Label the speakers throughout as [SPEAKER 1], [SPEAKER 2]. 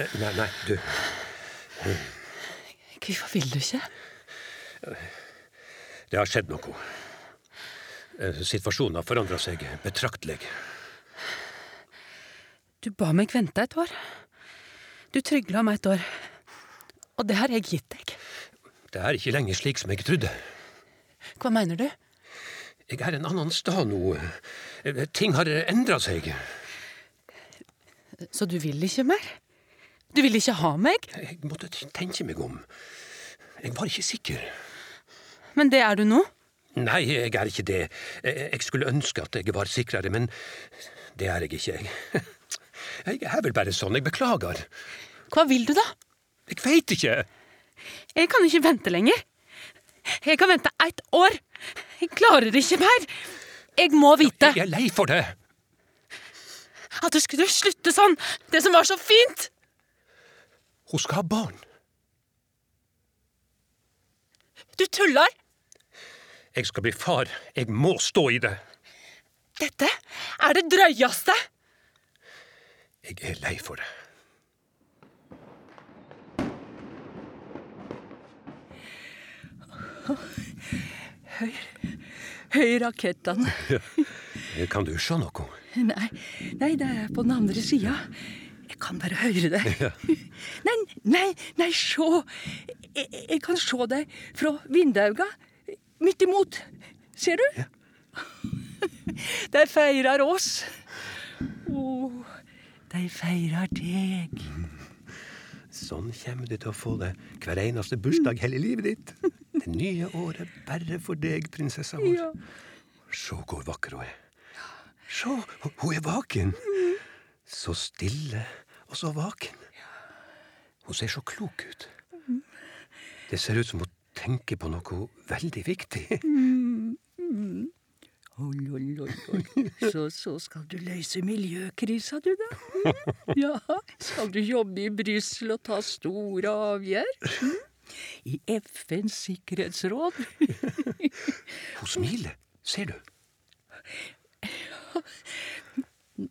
[SPEAKER 1] Eh, Nei, nei, du.
[SPEAKER 2] Hvorfor vil du ikke?
[SPEAKER 1] Det har skjedd noe. Eh, Situasjonen har forandra seg betraktelig.
[SPEAKER 2] Du ba meg vente et år. Du trygla meg et år. Og det har jeg gitt deg.
[SPEAKER 1] Det er ikke lenger slik som jeg trodde.
[SPEAKER 2] Hva mener du?
[SPEAKER 1] Jeg er en annen stad nå. Eh, Ting har endra seg.
[SPEAKER 2] Så du vil ikke mer? Du vil ikke ha meg?
[SPEAKER 1] Jeg måtte t- tenke meg om. Jeg var ikke sikker.
[SPEAKER 2] Men det er du nå.
[SPEAKER 1] Nei, jeg er ikke det. Eh, Jeg skulle ønske at jeg var sikrere, men det er jeg ikke. Jeg, jeg er vel bare sånn. Jeg beklager.
[SPEAKER 2] Hva vil du, da?
[SPEAKER 1] Jeg veit ikke.
[SPEAKER 2] Jeg kan ikke vente lenger. Jeg kan vente ett år. Jeg klarer ikke mer. Jeg må vite
[SPEAKER 1] Jeg er lei for det.
[SPEAKER 2] at du skulle slutte sånn. Det som var så fint.
[SPEAKER 1] Hun skal ha barn.
[SPEAKER 2] Du tuller.
[SPEAKER 1] Jeg skal bli far. Jeg må stå i det.
[SPEAKER 2] Dette er det drøyeste.
[SPEAKER 1] Jeg er lei for det.
[SPEAKER 3] Høy rakettene.
[SPEAKER 1] Kan du se noe?
[SPEAKER 3] Nei, nei, det er på den andre sida. Jeg kan bare høre det. Nei, nei, nei, sjå! Jeg, jeg kan sjå deg fra vindauga. Midt imot. Ser du? De feirer oss. Å, de feirer deg.
[SPEAKER 1] Sånn kommer du til å få det hver eneste bursdag hele livet ditt. Det nye året bare for deg, prinsessa vår.
[SPEAKER 3] Ja.
[SPEAKER 1] Se hvor vakker hun er. Se, hun- hun er vaken. Så stille og så vaken. Hun ser så klok ut. Det ser ut som hun tenker på noe veldig viktig.
[SPEAKER 3] Oi, oi, oi, oi. Så, så skal du løse miljøkrisa, du, da? Mm. Ja, Skal du jobbe i Brussel og ta store avgjørelser? I FNs sikkerhetsråd?
[SPEAKER 1] Hun smiler, ser du.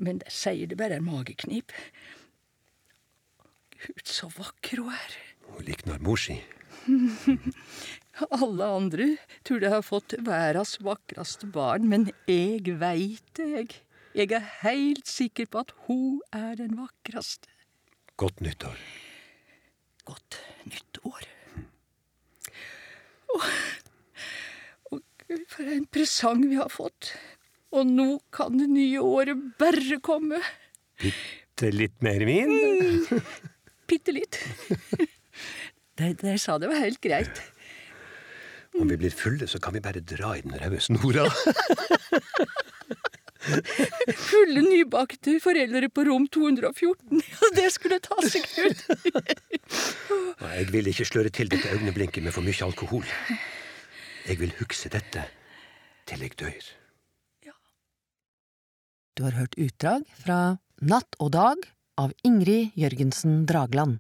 [SPEAKER 3] Men jeg sier det bare er mageknip. Gud, så vakker hun er.
[SPEAKER 1] Hun likner mor si.
[SPEAKER 3] Alle andre tror de har fått verdens vakreste barn, men jeg veit det, jeg. Jeg er helt sikker på at hun er den vakreste.
[SPEAKER 1] Godt nyttår.
[SPEAKER 3] godt nytt år. Og, og for en presang vi har fått. Og nå kan det nye året bare komme.
[SPEAKER 1] Bitte litt mer vin.
[SPEAKER 3] Bitte litt. De, de sa det var helt greit.
[SPEAKER 1] Om vi blir fulle, så kan vi bare dra i den røde snora.
[SPEAKER 3] Fulle nybakte foreldre på rom 214. Og det skulle ta seg ut.
[SPEAKER 1] Nei, Jeg vil ikke sløre til dette øyeblinket med for mye alkohol. Jeg vil huske dette til jeg dør.
[SPEAKER 4] Du har hørt utdrag fra Natt og dag av Ingrid Jørgensen Dragland.